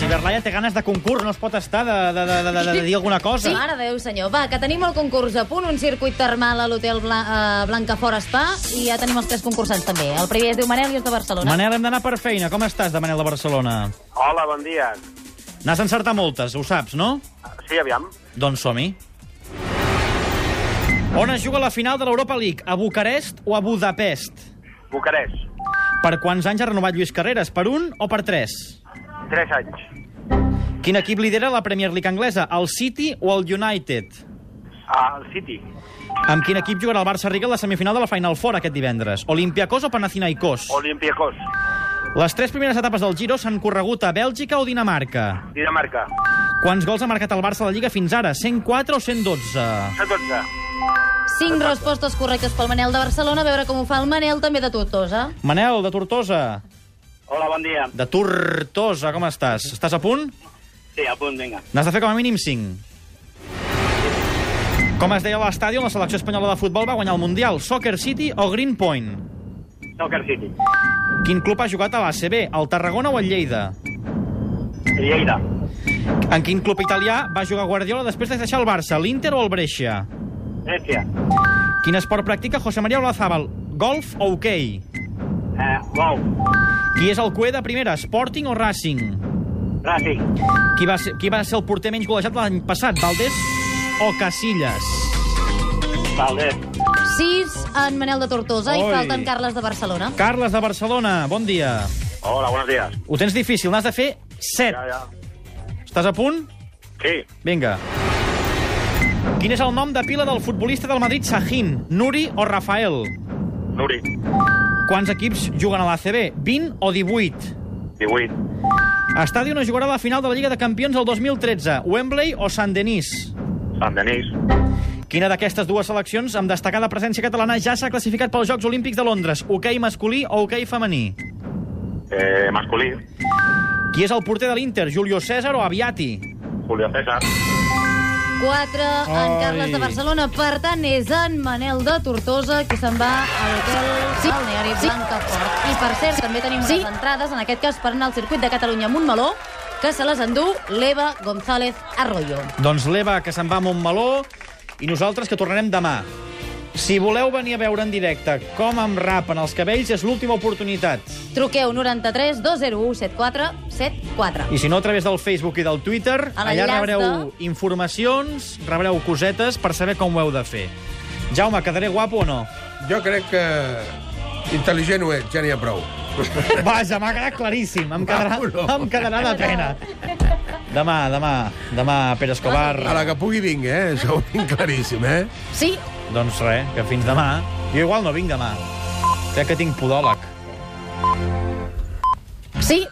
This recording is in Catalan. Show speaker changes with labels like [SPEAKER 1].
[SPEAKER 1] Si Berlaia té ganes de concurs, no es pot estar de, de, de, de, de, de dir alguna cosa.
[SPEAKER 2] Sí. Mare de Déu, senyor. Va, que tenim el concurs a punt, un circuit termal a l'hotel Bla uh, Blancafort Spa, i ja tenim els tres concursants també. El primer es diu Manel i és de Barcelona.
[SPEAKER 1] Manel, hem d'anar per feina. Com estàs, de Manel de Barcelona?
[SPEAKER 3] Hola, bon dia.
[SPEAKER 1] N'has encertat moltes, ho saps, no?
[SPEAKER 3] Sí, aviam.
[SPEAKER 1] Doncs som-hi. On es juga la final de l'Europa League? A Bucarest o a Budapest?
[SPEAKER 3] Bucarest,
[SPEAKER 1] Per quants anys ha renovat Lluís Carreras? Per un o per tres?
[SPEAKER 3] 3 anys.
[SPEAKER 1] Quin equip lidera la Premier League anglesa? El City o el United?
[SPEAKER 3] Al City,
[SPEAKER 1] Amb quin equip jugarà el Barça Riga a la semifinal de la Final Four aquest divendres? Olympiacos o Panathinaikos?
[SPEAKER 3] Olympiacos,
[SPEAKER 1] Les tres primeres etapes del Giro s'han corregut a Bèlgica o Dinamarca?
[SPEAKER 3] Dinamarca,
[SPEAKER 1] Quants gols ha marcat el Barça a la Lliga fins ara? 104 o 112?
[SPEAKER 3] 112.
[SPEAKER 2] Cinc respostes correctes pel Manel de Barcelona, a veure com ho fa el Manel també de Tortosa.
[SPEAKER 1] Manel, de Tortosa.
[SPEAKER 3] Hola, bon dia.
[SPEAKER 1] De Tortosa, com estàs? Estàs a punt?
[SPEAKER 3] Sí, a punt, vinga.
[SPEAKER 1] N'has de fer com a mínim 5. Com es deia a l'estadi on la selecció espanyola de futbol va guanyar el Mundial? Soccer City o Green Point?
[SPEAKER 3] Soccer City,
[SPEAKER 1] Quin club ha jugat a l'ACB? El Tarragona o el Lleida?
[SPEAKER 3] Lleida,
[SPEAKER 1] En quin club italià va jugar Guardiola després de deixar el Barça? L'Inter o el Brescia?
[SPEAKER 3] Grècia,
[SPEAKER 1] Quin esport practica José María Olazábal? Golf o hoquei?
[SPEAKER 3] eh, Bou,
[SPEAKER 1] Qui és el cué de primera, Sporting o Racing?
[SPEAKER 3] Racing,
[SPEAKER 1] Qui va ser, qui va ser el porter menys golejat l'any passat, Valdés o Casillas?
[SPEAKER 3] Valdés,
[SPEAKER 2] Sis en Manel de Tortosa i
[SPEAKER 1] Oi.
[SPEAKER 2] falten Carles de Barcelona.
[SPEAKER 1] Carles de Barcelona, bon dia.
[SPEAKER 4] Hola, buenos días.
[SPEAKER 1] Ho tens difícil, n'has de fer 7.
[SPEAKER 4] Ya, ya.
[SPEAKER 1] Estàs a punt?
[SPEAKER 4] Sí,
[SPEAKER 1] Vinga. Quin és el nom de pila del futbolista del Madrid Sahin, Nuri o Rafael?
[SPEAKER 4] Nuri,
[SPEAKER 1] Quants equips juguen a l'ACB? 20 o 18?
[SPEAKER 4] Diwit,
[SPEAKER 1] Estadi on es jugarà la final de la Lliga de Campions el 2013, Wembley o Sant Denis?
[SPEAKER 4] San Denis,
[SPEAKER 1] Quina d'aquestes dues seleccions amb destacada presència catalana ja s'ha classificat pels Jocs Olímpics de Londres? Hoquei masculí o hoquei femení?
[SPEAKER 4] eh, Masculí,
[SPEAKER 1] Qui és el porter de l'Inter, Julio César o Aviati?
[SPEAKER 4] Julio César,
[SPEAKER 2] Quatre en
[SPEAKER 1] Ai.
[SPEAKER 2] Carles de Barcelona. Per tant, és en Manel de Tortosa qui se'n va a l'hotel sí. Balneari sí. Blancafort. I, per cert, també tenim sí. unes entrades, en aquest cas per anar al circuit de Catalunya a Montmeló, que se les endú l'Eva González Arroyo.
[SPEAKER 1] Doncs l'Eva, que se'n va a Montmeló, i nosaltres, que tornarem demà. Si voleu venir a veure en directe com em rapen els cabells, és l'última oportunitat.
[SPEAKER 2] Truqueu 93 201 7474.
[SPEAKER 1] I si no, a través del Facebook i del Twitter,
[SPEAKER 2] A
[SPEAKER 1] allà
[SPEAKER 2] l'enllaç
[SPEAKER 1] rebreu informacions, rebreu cosetes per saber com ho heu de fer. Jaume, quedaré guapo o no?
[SPEAKER 5] Jo crec que intel·ligent ho ets, ja n'hi ha prou.
[SPEAKER 1] Vaja, m'ha quedat claríssim. Em quedarà,
[SPEAKER 5] Guapo, no.
[SPEAKER 1] em quedarà de pena. Demà, demà, demà, Pere
[SPEAKER 5] A
[SPEAKER 1] Escobar.
[SPEAKER 5] la que pugui vinc, eh? Això ho tinc claríssim, eh?
[SPEAKER 2] Sí,
[SPEAKER 1] Doncs res, que fins demà. Jo igual no vinc demà. Crec que tinc podòleg.
[SPEAKER 2] sí.